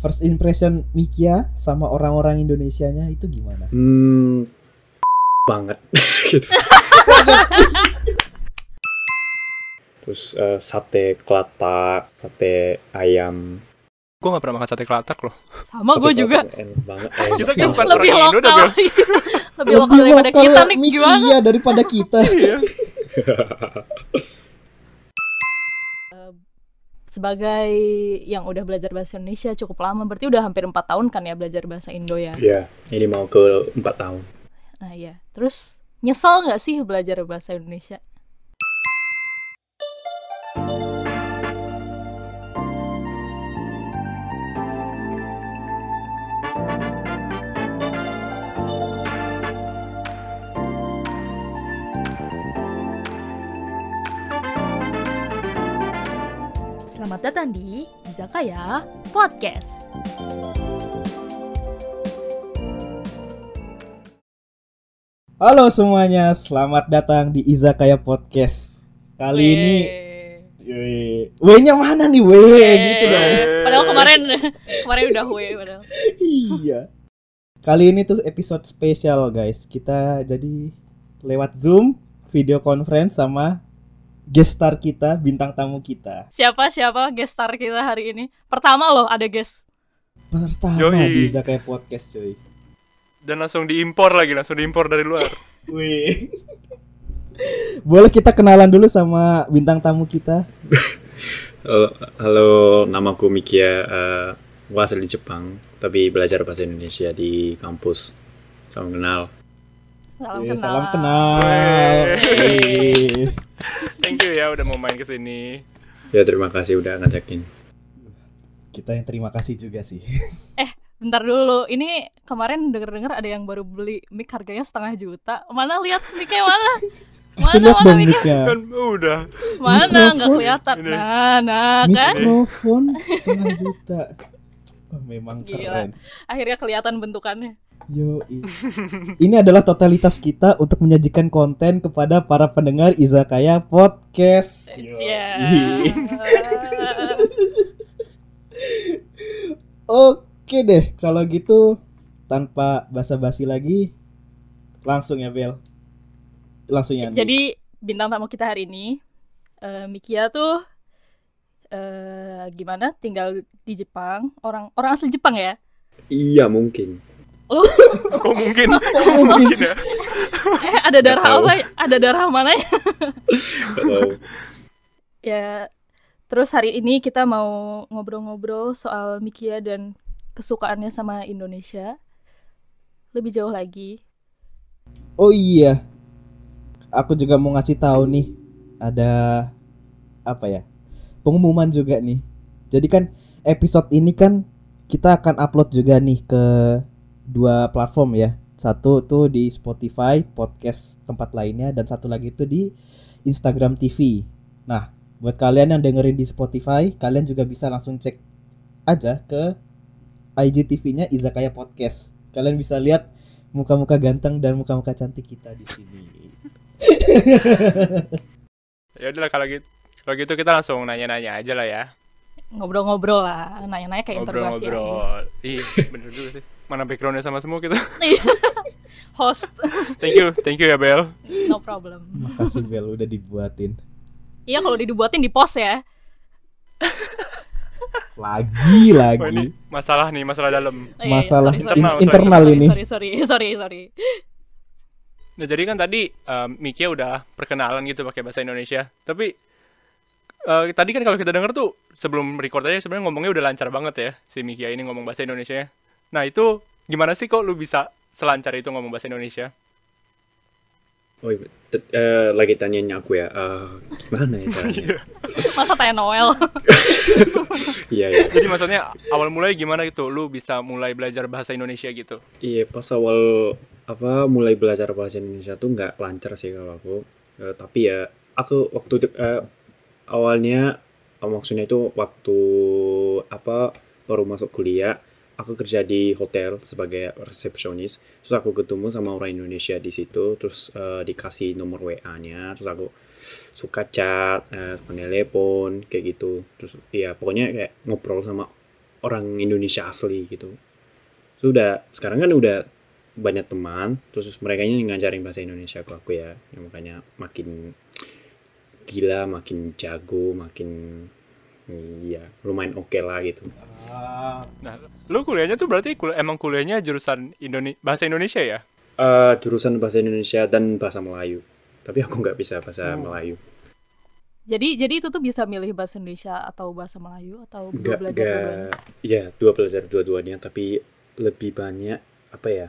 first impression Mikia sama orang-orang Indonesianya itu gimana? Hmm, banget gitu. Terus eh, sate kelata, sate ayam. Gue gak pernah makan sate kelatak loh. Sama Sate gue kelata juga. tuh Enak banget. Eh, enak Kita banget. bukan Lebih orang Indo ya. dah, lokal. Lebih lokal ya, daripada kita nih gimana? Mikia daripada kita. Iya. Sebagai yang udah belajar bahasa Indonesia cukup lama, berarti udah hampir 4 tahun kan ya belajar bahasa Indo ya. Iya, ini mau ke 4 tahun. Nah iya. Terus nyesel nggak sih belajar bahasa Indonesia? Selamat datang di Izakaya Podcast. Halo semuanya, selamat datang di Izakaya Podcast. Kali ini Yoi. W-nya mana nih W gitu dong. Padahal kemarin kemarin udah we padahal. Iya. Kali ini tuh episode spesial guys. Kita jadi lewat Zoom video conference sama guest star kita, bintang tamu kita. Siapa siapa guest star kita hari ini? Pertama loh ada guest. Pertama Yoi. di Izakaya Podcast cuy. Dan langsung diimpor lagi, langsung diimpor dari luar. Wih. Boleh kita kenalan dulu sama bintang tamu kita? Halo, halo namaku Mikia. eh, gua asli Jepang, tapi belajar bahasa Indonesia di kampus. Salam kenal. Salam Wih, kenal. Iya, Salam kenal. Wih. Wih. Thank you ya udah mau main ke sini. Ya terima kasih udah ngajakin. Kita yang terima kasih juga sih. Bentar dulu. Ini kemarin denger-denger ada yang baru beli mic harganya setengah juta. Mana lihat mic-nya mana? Kasih Mana, lihat mana, dong Mika? mic-nya. Kan udah. Mana Mikrofon. nggak kelihatan. Ini. Nah, nah kan. Mikrofon setengah juta. Wah, memang Gila. keren. Akhirnya kelihatan bentukannya. Yo, ini adalah totalitas kita untuk menyajikan konten kepada para pendengar Izakaya Podcast. Iya. Yeah. Yoi. Oke deh, kalau gitu tanpa basa-basi lagi, langsung ya Bel. Langsung ya. Andi. Jadi bintang tamu kita hari ini eh, Mikia tuh eh gimana tinggal di Jepang, orang orang asli Jepang ya. Iya mungkin. Kok mungkin? Kok mungkin mungkin ya? Eh ada darah Nggak tahu. apa? Ada darah mana ya? Gak tahu. Ya terus hari ini kita mau ngobrol-ngobrol soal Mikia dan kesukaannya sama Indonesia. Lebih jauh lagi. Oh iya. Aku juga mau ngasih tahu nih ada apa ya? Pengumuman juga nih. Jadi kan episode ini kan kita akan upload juga nih ke dua platform ya. Satu tuh di Spotify, podcast tempat lainnya dan satu lagi tuh di Instagram TV. Nah, buat kalian yang dengerin di Spotify, kalian juga bisa langsung cek aja ke IGTV-nya Izakaya Podcast. Kalian bisa lihat muka-muka ganteng dan muka-muka cantik kita di sini. Ya udahlah kalau gitu. Kalau gitu kita langsung nanya-nanya aja lah ya. Ngobrol-ngobrol lah, nanya-nanya kayak interogasi aja. Ngobrol-ngobrol. Iya, bener juga sih. Mana backgroundnya sama semua kita. Host, Thank you, thank you ya Bel. no problem. Makasih Bel udah dibuatin. Iya kalau dibuatin di post ya. Lagi Wah, lagi. ini masalah nih, masalah dalam. Eh, Masalah sorry, in- sorry. internal Sorry, ini. Sorry, sorry, sorry, sorry. Nah jadi kan tadi em, Mikia udah perkenalan gitu pakai bahasa Indonesia. Tapi eh, tadi kan kalau kita denger tuh sebelum record aja sebenarnya ngomongnya udah lancar banget ya si Mikia ini ngomong bahasa Indonesia. Nah itu gimana sih kok lu bisa selancar itu ngomong bahasa Indonesia? Oh, iya. T- eh, lagi tanyain aku ya. Eh, gimana ya caranya? Masa tanya Noel? Iya iya. Jadi maksudnya awal mulai gimana gitu lu bisa mulai belajar bahasa Indonesia gitu? Iya pas awal apa mulai belajar bahasa Indonesia tuh nggak lancar sih kalau aku. Eh, tapi ya aku waktu itu- eh, awalnya eh, maksudnya itu waktu apa baru masuk kuliah aku kerja di hotel sebagai resepsionis. Terus aku ketemu sama orang Indonesia di situ. Terus eh, dikasih nomor WA-nya. Terus aku suka chat, eh, suka telepon kayak gitu. Terus ya pokoknya kayak iya, ngobrol sama orang Indonesia asli gitu. Sudah sekarang kan udah banyak teman, terus mereka ini ngajarin bahasa Indonesia ke aku ya, ya makanya makin gila, makin jago, makin iya lumayan oke lah gitu. Ah, Nah, Lu kuliahnya tuh berarti kul- emang kuliahnya jurusan Indone- bahasa Indonesia ya? Eh, jurusan bahasa Indonesia dan bahasa Melayu, tapi aku nggak bisa Oh. bahasa Melayu. Jadi jadi itu tuh bisa milih bahasa Indonesia atau bahasa Melayu atau dua Nggak, belajar dua-duanya. nggak, ya dua belajar dua-duanya, tapi lebih banyak apa ya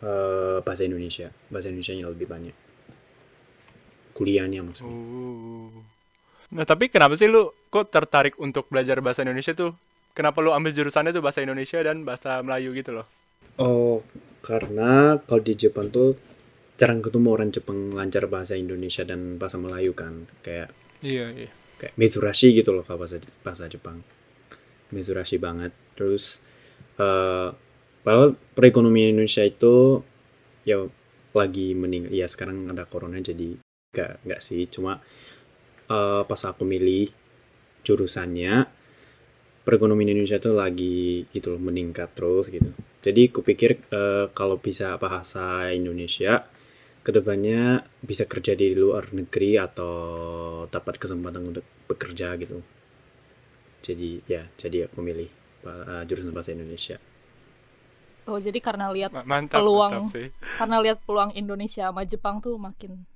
eh, bahasa Indonesia, bahasa Indonesianya lebih banyak. Kuliahnya maksudnya. Uh. Nah, tapi kenapa sih lu kok tertarik untuk belajar bahasa Indonesia tuh? Kenapa lu ambil jurusannya tuh bahasa Indonesia dan bahasa Melayu gitu loh? Oh, karena kalau di Jepang tuh jarang ketemu orang Jepang lancar bahasa Indonesia dan bahasa Melayu kan. Kayak Iya, iya. kayak mezurashi gitu loh kalau bahasa bahasa Jepang. Mezurashi banget. Terus eh padahal perekonomian Indonesia itu ya lagi meningkat. Ya sekarang ada corona jadi gak, nggak sih. Cuma eh, pas aku milih jurusannya perekonomian Indonesia itu lagi gitu loh meningkat terus gitu. Jadi kupikir eh, kalau bisa bahasa Indonesia kedepannya bisa kerja di luar negeri atau dapat kesempatan untuk bekerja gitu. Jadi ya jadi aku milih eh, jurusan bahasa Indonesia. Oh, jadi karena lihat Ma- Mantap, Peluang. mantap sih. karena lihat peluang Indonesia sama Jepang tuh makin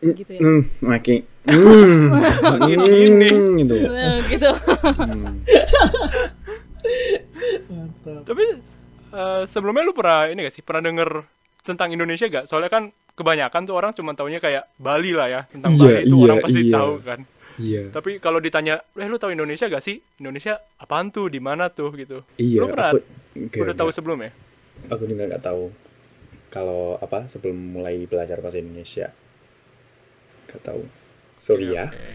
Mm, gitu ya. Hmm, makin hmm, Makin hmm, ini. gitu. Eh, gitu. Hmm. mantap. Tapi eh, sebelumnya lu pernah ini gak sih? Pernah denger tentang Indonesia gak? Soalnya kan kebanyakan tuh orang cuma taunya kayak Bali lah ya. Tentang Iya, Bali itu iya, orang pasti iya. tahu kan. Iya. Tapi kalau ditanya, "Eh, lu tahu Indonesia gak sih? Indonesia apaan tuh? Di mana tuh?" gitu. Iya, Lu pernah- aku enggak, Udah tahu sebelumnya? aku juga nggak tahu kalau apa sebelum mulai belajar bahasa Indonesia nggak tahu sorry ya Oke.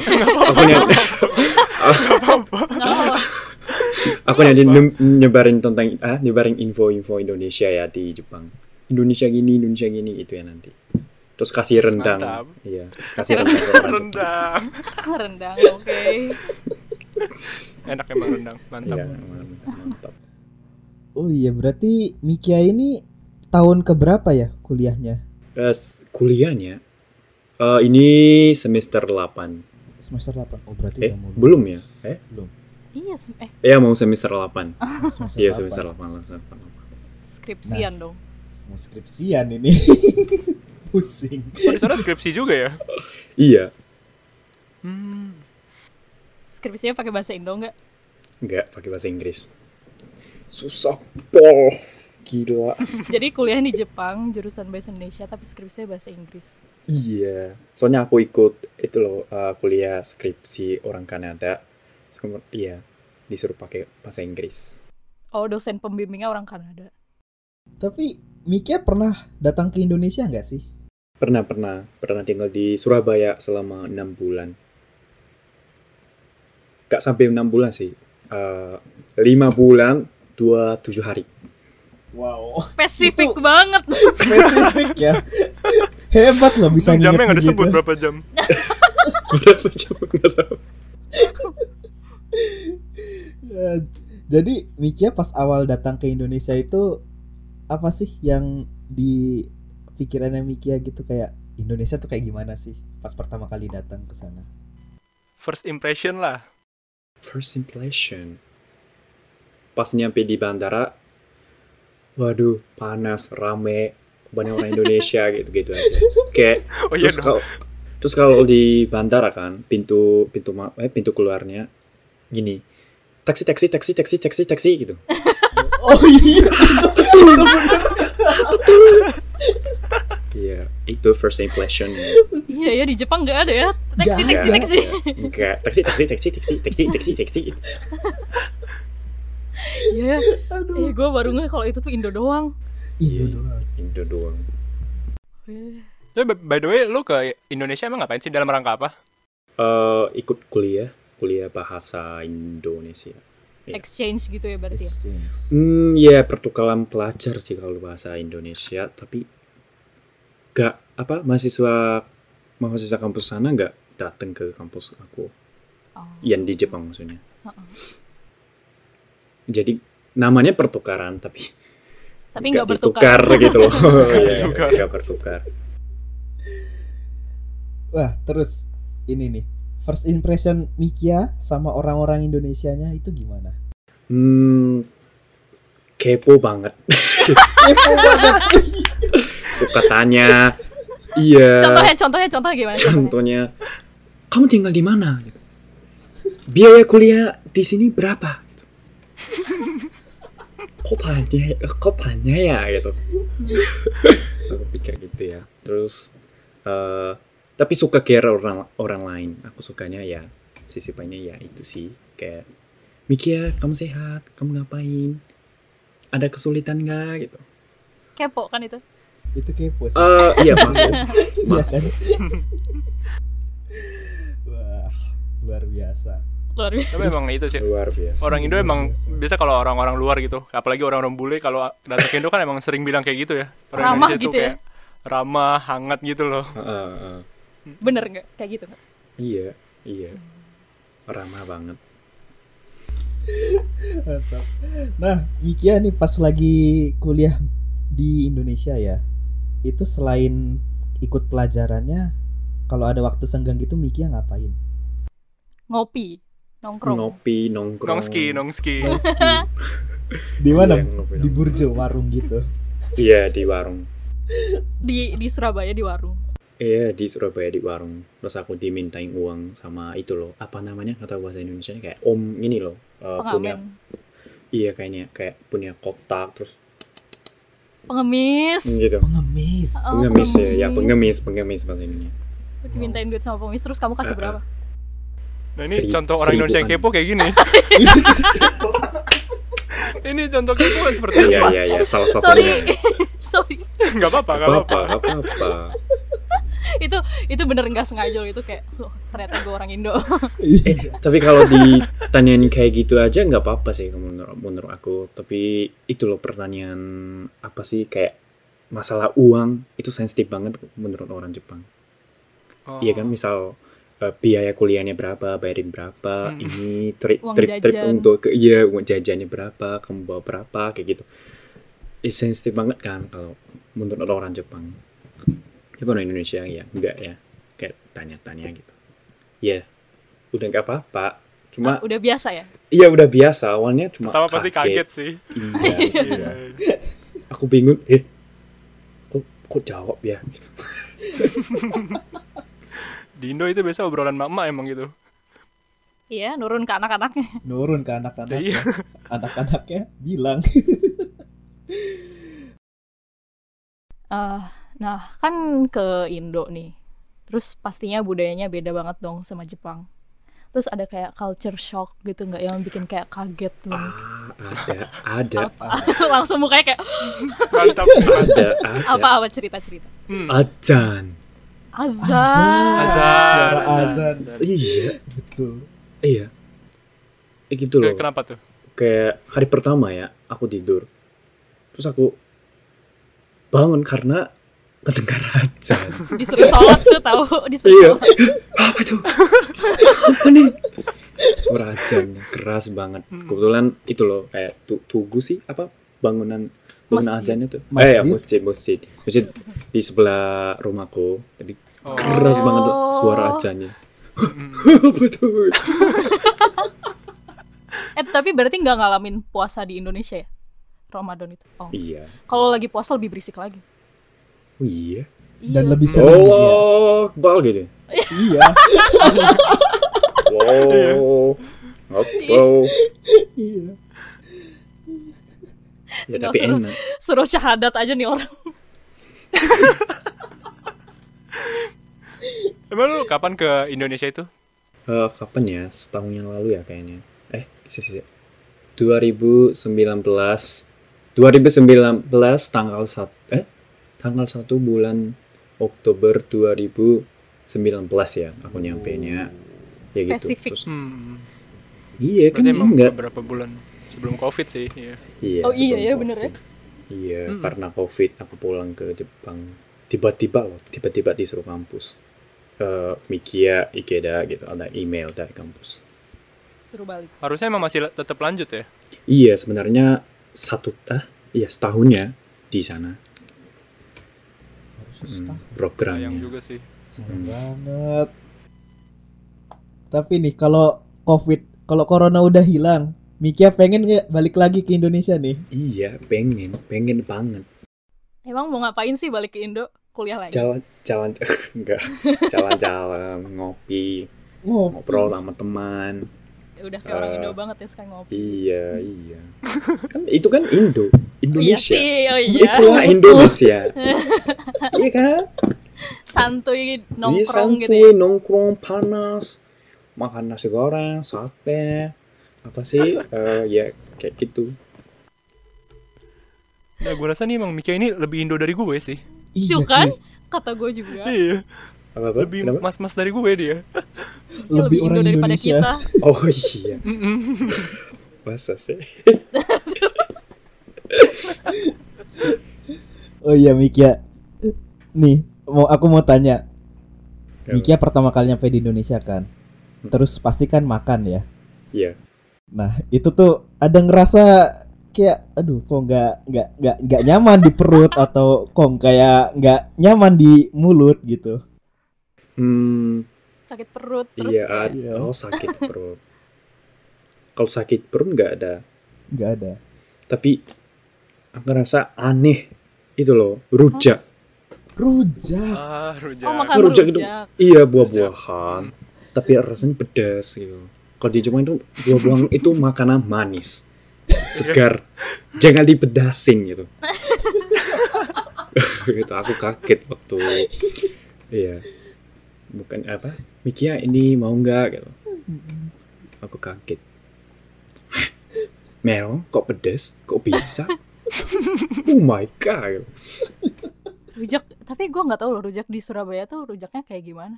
aku ny- Nggak apa-apa. aku Iya, nyari nye- nyebarin tentang ah nyebarin info-info Indonesia ya di Jepang Indonesia gini Indonesia gini itu ya nanti terus kasih rendang Mantap. iya terus kasih rendang ke orang Jepang. Rendang, rendang. oke. Enak emang rendang. Mantap. iya mantap, mantap. Oh iya, berarti Mikia ini tahun keberapa ya kuliahnya? Eh, s- kuliahnya eh, ini semester 8 Semester 8. Oh, berarti eh udah mau lulus. belum ya eh Belum. Iya, sem- eh ya mau semester 8 Semester iya 8. semester 8 semester 8 skripsian dong. Mau skripsian ini. Pusing. Oh, di sana skripsi juga ya? iya Hmm. Skripsinya pakai bahasa Indo nggak? Enggak, pakai bahasa Inggris. Susah pol. Gila. Jadi kuliah di Jepang, jurusan bahasa Indonesia tapi skripsinya bahasa Inggris. Iya. Soalnya aku ikut itu loh uh, kuliah skripsi orang Kanada. Terus kemar- Iya, disuruh pakai bahasa Inggris. Oh, dosen pembimbingnya orang Kanada. Tapi Mikia pernah datang ke Indonesia nggak sih? Pernah pernah pernah tinggal di Surabaya selama enam bulan. Gak sampai enam bulan sih. Eh, Lima bulan dua tujuh hari. Wow, Spesifik Itu- banget. spesifik ya. Hebat loh bisa nginget Jamnya gitu. nggak disebut begitu. berapa jam. Berapa jam nggak tahu. Eh, Jadi Mikia pas awal datang ke Indonesia itu apa sih yang di pikirannya Mikia gitu kayak Indonesia tuh kayak gimana sih pas pertama kali datang ke sana? First impression lah. First impression. Pas nyampe di bandara, waduh panas, rame, banyak orang Indonesia gitu-gitu aja. Kayak Oh iya terus dong. kalau terus kalau di bandara kan pintu pintu ma- eh pintu keluarnya gini taksi taksi taksi taksi taksi taksi gitu. Oh iya. Iya, itu first impression. Iya ya di Jepang nggak ada ya. Taksi, taksi, Nggak ada. taksi. Enggak, taksi taksi taksi taksi taksi taksi taksi. gitu. Iya. Eh, Aduh. gue baru nggak kalau itu tuh Indo doang. Indo doang. Indo doang. Eh, Tapi by- by the way, lu ke Indonesia emang ngapain sih dalam rangka apa? Eh, ikut kuliah, kuliah bahasa Indonesia. Iya. Exchange gitu ya berarti ya. Exchange. Hmm, ya pertukaran pelajar sih kalau bahasa Indonesia, tapi gak apa mahasiswa mahasiswa kampus sana gak datang ke kampus aku Oh. yang di Jepang maksudnya. jadi namanya pertukaran tapi Tapi nggak ditukar bertukar. gitu loh. Iya, Bertukar. nggak bertukar. Wah, terus ini nih. First impression Mikia sama orang-orang Indonesianya itu gimana? Hmm, kepo banget. Kepo banget. Suka tanya. Iya. Contohnya, contohnya, contohnya gimana? Contohnya. Contohnya, kamu tinggal di mana? Gitu. Biaya kuliah di sini berapa? Gitu. Kok tanya, kok tanya ya gitu. Aku pikir gitu ya. Terus, eh, tapi suka care orang orang lain. Aku sukanya ya sisi banyak ya itu sih kayak Mikia, kamu sehat? Kamu ngapain? Ada kesulitan nggak gitu? Kepo kan itu. itu kepo sih. Eh, iya masuk, Iya kan? masuk. Wah, luar biasa. Luar biasa. Tapi emang itu sih. Luar biasa. Orang Indo emang biasa kalau orang-orang luar gitu, apalagi orang-orang bule kalau datang ke Indo kan emang sering bilang kayak gitu ya. Orang Ramah Indonesia tuh gitu ya? kayak Ramah, hangat gitu loh. Eh, eh, eh. Bener nggak? Kayak gitu. nggak? Iya, iya. Ramah banget. Mantap. Nah, Mikia nih pas lagi kuliah di Indonesia ya, itu selain ikut pelajarannya, kalau ada waktu senggang gitu Mikia ngapain? Ngopi, nongkrong. Ngopi, nongkrong. Nongski, nongski. kan. Di mana? Iya, Di ngopi, nongkrong. Burjo warung gitu. Iya, di warung. Di di Surabaya di warung. Iya, di Surabaya di warung. Terus aku dimintain uang sama itu loh. Apa namanya? Kata bahasa Indonesia kayak om ini loh. Eh, punya Pengamen. iya kayaknya kayak punya kotak terus Pengemis. gitu. Pengemis. Oh, pengemis ya, ya pengemis, pengemis bahasa Indonesia. Dimintain duit sama pengemis terus kamu kasih Ah, berapa? Nah ini Seri- contoh orang Indonesia yang seribuan. kepo kayak gini. ini contoh kepo seperti Iya, apa? iya, iya, salah Sorry. satunya. Sorry. Gak apa-apa, Gak gak apa-apa. apa-apa, gak apa-apa. itu itu bener nggak sengaja loh, itu kayak "Loh, ternyata gue orang Indo. Eh, Iya. tapi kalau ditanyain kayak gitu aja nggak apa-apa sih menurut, menurut aku. Tapi itu loh pertanyaan apa sih kayak masalah uang itu sensitif banget menurut orang Jepang. Oh. Iya kan misal eh, biaya kuliahnya berapa, bayarin berapa, Hmm. ini trip Uang trip trip jajan. untuk ke iya uang jajannya berapa, kamu bawa berapa kayak gitu. Eh, sensitif banget kan kalau menurut orang Jepang. Tapi orang Indonesia ya enggak ya kayak tanya-tanya gitu. Ya udah nggak apa-apa. Cuma Udah biasa ya. Iya udah biasa awalnya cuma Pertama pasti kaget sih. Iya, iya. Aku bingung, eh kok kok jawab ya gitu. Di Indo itu biasa obrolan mak-mak emang gitu. Iya, nurun ke anak-anaknya. Nurun ke anak-anak. Iya. Anak-anaknya bilang. Eh, nah, kan ke Indo nih. Terus pastinya budayanya beda banget dong sama Jepang. Terus ada kayak culture shock gitu nggak yang bikin kayak kaget banget. Ah, ada, ada, Langsung mukanya kayak Mantap. ada, ada. apa-apa cerita-cerita. Hmm. Ajan. Azan. Suara Azan. azan. Iya, Betul. iya. Eh gitu loh. Ke- Kenapa tuh? Kayak hari pertama ya, aku tidur. Terus aku bangun karena kedengaran ajan. Disuruh sholat tuh tahu, disuruh iya. sholat. Apa itu? Apa nih? Suara ajan keras banget. Kebetulan itu loh kayak tu- tugu sih apa bangunan bangunan Masjid. ajannya tuh. Masjid. Eh ya, masjid masjid masjid di sebelah rumahku. Jadi Oh. keras banget loh suara ajannya. Hmm. Apa tuh? Eh, tapi berarti nggak ngalamin puasa di Indonesia ya? Ramadan itu. Oh. Iya. Kalau lagi puasa lebih berisik lagi. Oh, iya. Dan Iya. lebih seru ya. Allah Akbar gitu. Iya. Wow. Apa? Iya. Ya, Nggak tapi seru. enak. suruh syahadat aja nih orang. Emang lu kapan ke Indonesia itu? Eh, kapan ya? Setahun yang lalu ya kayaknya. Eh, sih 2019 2019 tanggal 1 eh tanggal 1 bulan Oktober 2019 ya aku nyampainya ya gitu. Spesifik. Terus, Hmm. iya kan Berarti emang enggak. beberapa bulan sebelum COVID sih. Iya. Iya, Oh, iya sebelum ya, bener ya. COVID. Iya, Mm-mm. karena COVID aku pulang ke Jepang. Tiba-tiba loh, tiba-tiba disuruh kampus. Eh, Mikia, Ikeda gitu, ada email dari kampus. suruh balik. Harusnya emang masih le- tetap lanjut ya. Iya, sebenarnya satu tah, iya setahun ya di sana Harus hmm, ya. setahun. Sayang programnya. juga sih. Sayang banget. Tapi nih kalau COVID, kalau corona udah hilang, Mikia pengen nggak balik lagi ke Indonesia nih? Iya, pengen, pengen banget. Emang mau ngapain sih balik ke Indo? Kuliah lagi. Jalan, jalan, enggak, jalan-jalan, ngopi, Ngopi. ngobrol sama teman. Ya udah kayak orang Eh. Indo banget ya sekarang ngopi. Iya, iya. Kan itu kan Indo, Iya Indonesia. sih, oh iya. Itulah Indonesia. iya kan? Iya, Santuy nongkrong gitu santuy, ya. nongkrong panas, makan nasi goreng, sate, apa sih? Eh, ya kayak gitu. Nah, gue rasa nih emang Mika ini lebih Indo dari gue sih. Iya, Itu kan cuy. kata gue juga. Iya. Apa apa? Lebih Kenapa? mas-mas dari gue dia. Dia Lebih orang Indo daripada Indonesia. kita. Oh iya, Mm-mm. masa sih? Oh iya Mikia. Nih, mau aku mau tanya. Mikia pertama kali nyampe di Indonesia kan. Terus pasti kan makan ya. Iya. Nah, itu tuh ada ngerasa kayak aduh kok nggak nggak nggak nggak nyaman di perut atau kok kayak nggak nyaman di mulut gitu. Hmm, Sakit perut terus iya. kayak, Iya. ad- Oh sakit perut. Kalau sakit perut nggak ada, Nggak ada. tapi aku ngerasa aneh itu loh rujak Rujak. Ah, rujak. Oh makan Rujak rujak. itu. iya buah-buahan tapi rasanya pedas gitu kalau di Jepang itu buah-buahan itu makanan manis segar jangan dipedasin gitu gitu aku kaget waktu iya bukan apa Mikia ini mau nggak gitu aku kaget Hah? Mel, kok pedas? Kok bisa? oh my god! gitu. Rujak, tapi gue nggak tahu loh rujak di Surabaya tuh rujaknya kayak gimana.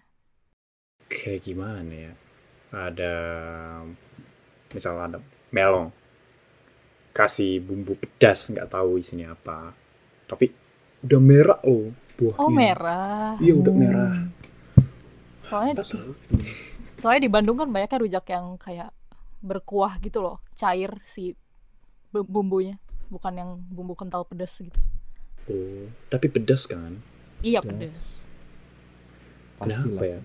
kayak gimana ya ada misalnya ada melon kasih bumbu pedas nggak tahu isinya apa tapi udah merah loh buahnya Oh merah. Oh. iya udah merah Soalnya apa tuh soalnya di Bandung kan banyaknya rujak yang kayak berkuah gitu loh, cair si bu- bumbunya, bukan yang bumbu kental pedas gitu. oh tapi pedas kan Iya Pedas. pedas. Pastilah. Kenapa ya?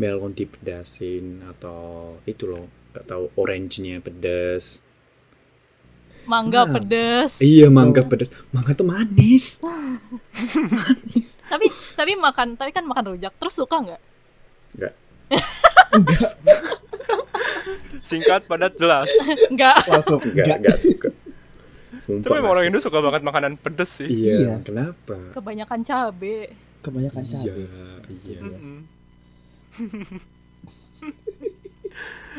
melon dipedasin atau itu loh nggak tahu orange-nya pedas Mangga Nah. pedas. iya mangga pedas mangga tuh manis manis Tapi tapi makan, tapi kan makan rujak terus suka nggak? nggak Enggak. Singkat, padat, jelas. Nggak. Langsung nggak enggak. nggak suka Sumpah Tapi emang nggak orang suka. Indo suka banget makanan pedes sih. Iya, Iya. kenapa? Kebanyakan cabe. Kebanyakan iya, cabai. iya. Mm-mm.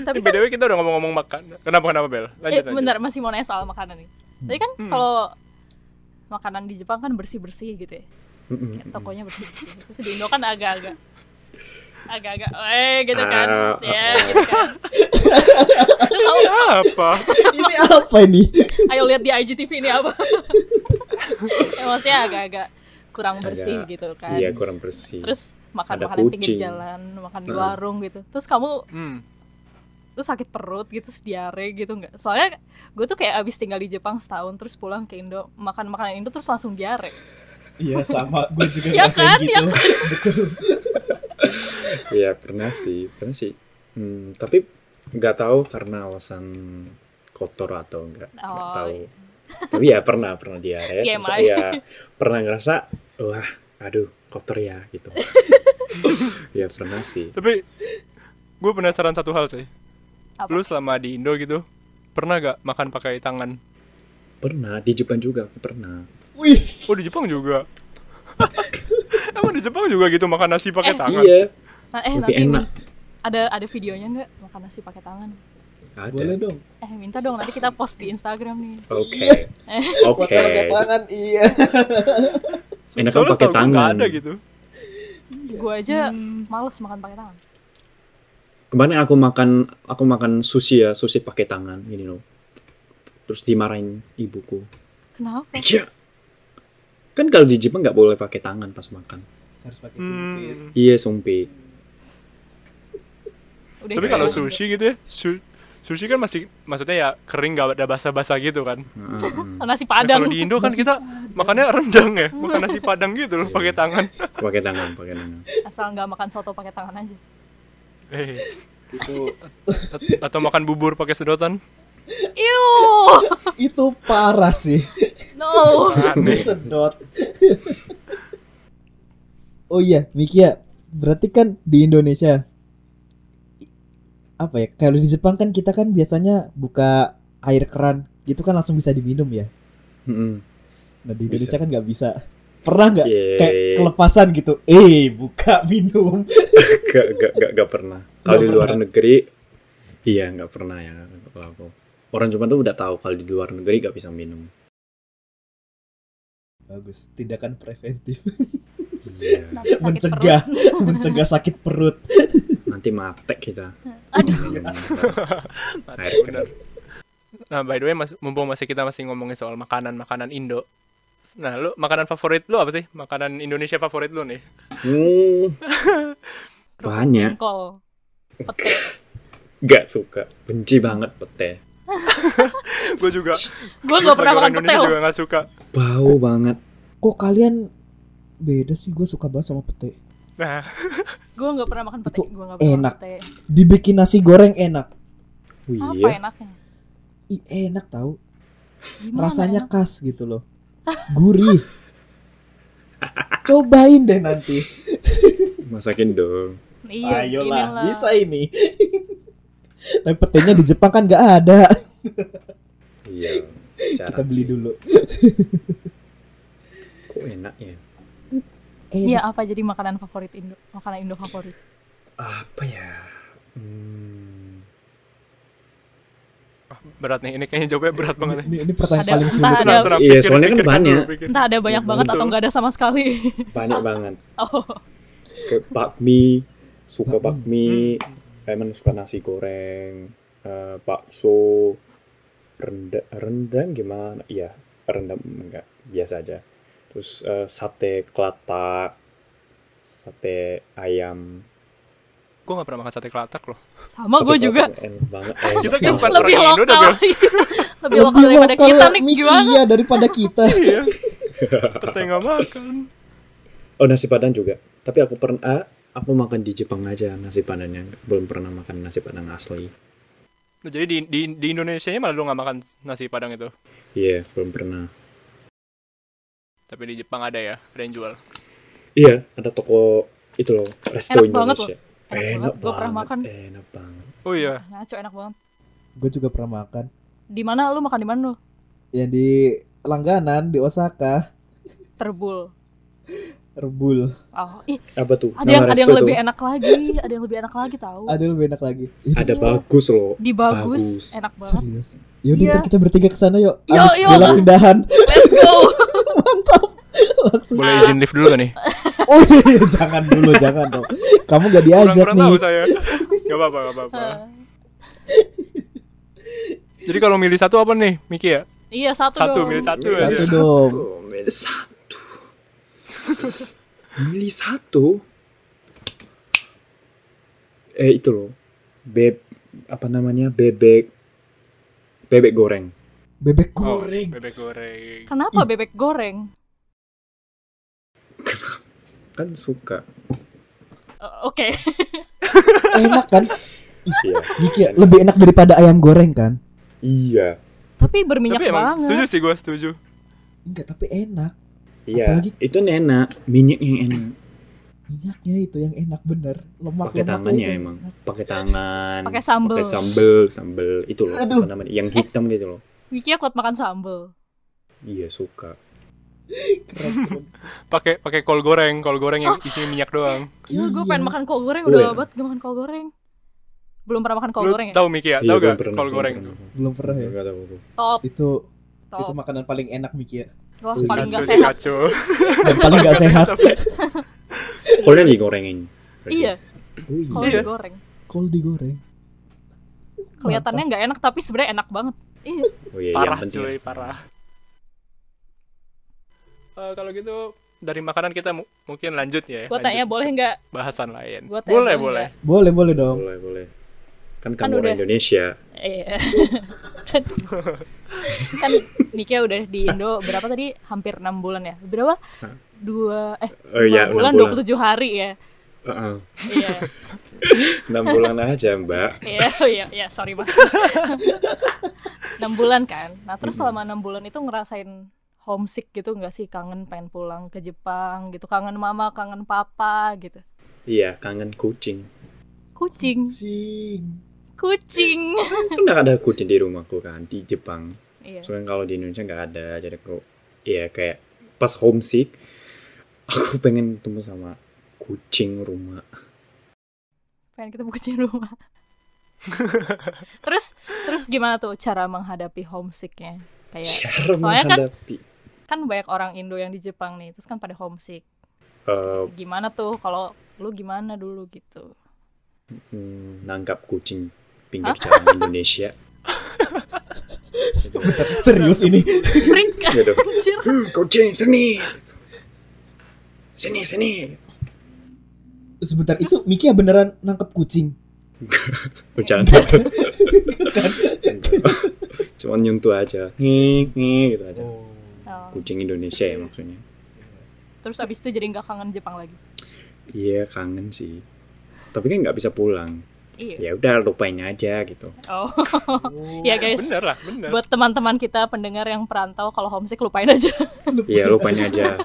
Tapi Ini kan, BTW kita udah ngomong-ngomong makan. Kenapa kenapa Bel? eh, Lanjut lanjut. bentar masih mau nanya soal makanan nih. Tapi kan Hmm. kalau makanan di Jepang kan bersih bersih gitu ya. Mm-mm. Kayak tokonya bersih bersih terus di Indo kan agak-agak agak-agak eh gitu kan Ah, ya ah, ah. gitu kan Itu kamu- Apa? ini apa ini? ayo lihat di IGTV ini apa ya, maksudnya agak-agak kurang bersih Agak- gitu kan Iya, kurang bersih. terus makan Ada makanan pinggir kucing. jalan makan di Heeh. warung gitu terus kamu Hmm. terus sakit perut gitu terus diare gitu nggak soalnya gue tuh kayak abis tinggal di Jepang setahun terus pulang ke Indo makan makanan Indo terus langsung diare Iya sama, gue juga Ya ngerasain kan, gitu. Betul. Iya, pernah sih, pernah sih. Hmm, tapi nggak tahu karena alasan kotor atau enggak. Nggak Oh, tahu. Tapi ya pernah, pernah diare. Iya, terus Mai. ya pernah ngerasa, wah, aduh, kotor ya gitu. Iya, pernah sih. Tapi gue penasaran satu hal sih. Apa? Lu selama di Indo gitu pernah gak makan pakai tangan? Pernah di Jepang juga aku pernah. Wih, Oh di Jepang juga. Emang di Jepang juga gitu makan nasi pakai Eh, tangan? Iya, Nah, eh lebih nanti enak. min- ada ada videonya nggak makan nasi pakai tangan? boleh Ada. dong. Eh minta dong nanti kita post di Instagram nih. Oke. Eh. Oke. Kotor kayak tangan, iya. Enak kan pakai Soalnya setahu gua nggak tangan. ada gitu. Gue aja Hmm. males makan pakai tangan. kemarin aku makan aku makan sushi ya sushi pakai tangan gini loh terus dimarahin ibuku Kenapa? Eh. iya kan kalau di Jepang nggak boleh pakai tangan pas makan Harus pakai singkir. Hmm. iya sumpit Udah Tapi gitu kalau aja. sushi gitu ya, su- sushi kan masih maksudnya ya kering gak ada basa-basa gitu kan. Heeh. Oh, Nasi Nah, padang. kalau di Indo kan kita makannya rendang ya, makan nasi padang gitu loh Iya. pakai tangan. pakai tangan pakai tangan Asal nggak makan soto pakai tangan aja. Eh, itu atau makan bubur pakai sedotan. Oh. Iu, Itu parah sih. no. aneh Disedot. oh iya, Mikia, berarti kan di Indonesia apa ya? Kalau di Jepang kan kita kan biasanya buka air keran gitu kan langsung bisa diminum ya. Heeh. Nah di Bisa. Indonesia kan nggak bisa. Pernah nggak Yeay. kayak kelepasan gitu? Eh buka minum. gak, gak, gak, gak pernah. Kalau Gak di luar pernah. negeri, iya gak pernah ya. Kalau aku. Orang Jepang tuh udah tahu kalau di luar negeri gak bisa minum. Bagus, tindakan preventif Iya. Nanti sakit mencegah perut. mencegah sakit perut. Nanti matek kita. Aduh. Minum. Air Aduh, keras. benar. Nah, by the way, mas, mumpung masih kita masih ngomongin soal makanan-makanan Indo. Nah, lu makanan favorit lu apa sih? Makanan Indonesia favorit lu nih? Hmm, Ya. Banyak. Jengkol. Pete. Gak suka. Benci banget pete. gue juga. Gue nggak pernah makan pete Indonesia loh. juga gak suka. Bau banget. Kok kalian beda sih? Gue suka banget sama pete. Nah, Gue nggak pernah makan pete. Itu Gue nggak pernah enak. makan pete. Dibikin nasi goreng enak. Wih, Apa iya. enaknya? Ih, enak tau. Gimana rasanya enak? khas gitu loh gurih cobain deh nanti Masakin dong. Iya, Ah, ayolah ginilah. bisa ini tapi petenya di Jepang kan nggak ada Iya. Jarang kita beli sih. dulu Kok enak ya? Iya, eh, apa jadi makanan favorit Indo? Makanan Indo favorit. Apa ya? Hmm. berat nih. Ini kayaknya jawabnya berat banget. nih. ini, ini pertanyaan Ada- paling entah sulit ada- loh. tenang, Iya, pikir, soalnya kan pikir, banyak. pikir, pikir. Entah ada banyak Iya, banget betul. atau nggak ada sama sekali. Banyak banget. Oh, kayak bakmi suka bakmi, Hmm. emang suka nasi goreng eh, bakso rendang rendang gimana iya rendang enggak biasa aja terus eh, sate kelata sate ayam Gue gak pernah makan sate kelatak loh. sama Sate kelata gue Oh, juga. enak banget Eh, Kita enak kan bukan banget. Lebih orang Indo dah, lokal. Bel. Lebih lokal daripada lokal kita nih. Miki, Gimana? iya, daripada kita Iya. Pete gak makan. oh nasi padang juga tapi aku pernah aku makan di Jepang aja nasi padangnya belum pernah makan nasi padang asli Nah, jadi di, di, di Indonesia malah lu gak makan nasi padang itu. iya belum pernah Tapi di Jepang ada ya, ada yang jual. iya ada toko itu loh resto Enak banget Indonesia Enak banget. Gue pernah makan. enak banget Oh Eh, iya. Ngaco enak banget. gue juga pernah makan Di mana lu makan di mana lu? yang di langganan di Osaka Terbul. rebul Oh, ih, apa tuh ada yang Nama ada yang resto lebih tuh? enak lagi, ada yang lebih enak lagi tahu. ada lebih enak lagi ada Iya. bagus loh Di Bagus. bagus, enak banget. serius yaudah Iya. ntar kita bertiga ke sana yuk Yuk, Abis yuk. bela pindahan Let's go. Nah. Boleh izin lift dulu gak nih? Eh. Oh iya, iya, jangan dulu, jangan dong. Kamu gak diajak Kurang-kurang nih. tahu saya. Gak apa-apa, gak apa-apa. Eh, Jadi kalau milih satu apa nih, Miki ya? iya, satu, Satu, dong. milih satu ya. Satu dong. milih satu milih satu eh itu loh beb apa namanya bebek bebek goreng Bebek Oh, goreng. bebek goreng. Kenapa bebek goreng? kan suka Eh, Oke. Enak kan? iya Giki, lebih enak daripada ayam goreng kan? iya Tapi berminyak Tapi emang banget. setuju sih gue, setuju. Enggak, tapi enak. iya Apalagi? itu enak minyak yang enak Minyaknya itu yang enak bener. Lemak pakai lemaknya tangan ya itu. emang pakai tangan Pakai sambel. pakai sambel sambel itu loh Aduh. apa namanya yang hitam gitu loh Vicky kuat makan sambel. iya suka Keren, keren. Pakai pakai kol goreng, kol goreng yang Oh. isinya minyak doang. Gila, gue Iya. pengen makan kol goreng Lu udah lama enak. banget gak makan kol goreng. Belum pernah makan kol Lu goreng ya? tahu Miki Iya, ya? Tahu belum gak pernah, kol belum goreng? pernah. Belum pernah ya. Nggak tahu aku. Top, Itu itu top. makanan paling enak Miki ya. Wah, itu Iya. paling gak Kacau, sehat. kacau. Dan paling gak sehat. Kolnya digorengin. Iya, Oh, kol iya. Iya. goreng. Kol digoreng. Kelihatannya nggak enak tapi sebenarnya enak banget. Iya. Oh iya, yang Parah penting. cuy, parah. Eh, kalau gitu dari makanan kita mu- mungkin lanjut ya. Gue lanjut tanya ke boleh nggak? bahasan lain. Gua tanya ya. boleh, boleh boleh. Boleh, boleh dong. Boleh, boleh. Kan kamu Kan udah. orang Indonesia. Iya. kan, kan Nikia udah di Indo berapa tadi? Hampir enam bulan ya. Berapa? Dua eh Oh iya, dua bulan, enam bulan. 27 hari ya. Heeh. Iya. Enam bulan aja, Mbak. Iya, iya, iya, sorry Mas. 6 bulan kan. Nah, terus selama 6 bulan itu ngerasain homesick gitu nggak sih? Kangen pengen pulang ke Jepang gitu. Kangen mama, kangen papa gitu. Iya, kangen kucing. Kucing, Cing. kucing. Pernah Kan ada kucing di rumahku kan di Jepang. Iya. Soalnya kalau di Indonesia nggak ada, jadi aku iya kayak pas homesick aku pengen ketemu sama kucing rumah. pengen ketemu kucing rumah. terus terus gimana tuh cara menghadapi homesicknya? Kayak Cara Iya. Soalnya kan- menghadapi kan banyak orang Indo yang di Jepang nih, terus kan pada homesick. Terus eh, kayak gimana tuh kalau lu gimana dulu gitu? mm, nangkap kucing pinggir jalan Indonesia. gitu. Serius ini. Freak gitu. anjir. Kucing sini. Sini sini. Sebentar itu Mikia beneran nangkep kucing. Bercanda. Enggak. Cuman nyentuh aja. Ngik, ngik, gitu aja. Oh, Kucing Indonesia ya maksudnya. Terus abis itu jadi nggak kangen Jepang lagi. Iya kangen sih. Tapi kan nggak bisa pulang. Iya. Ya udah lupain aja gitu. Oh. ya guys. Bener lah, bener. Buat teman-teman kita pendengar yang perantau kalau homesick lupain aja. Iya lupain aja.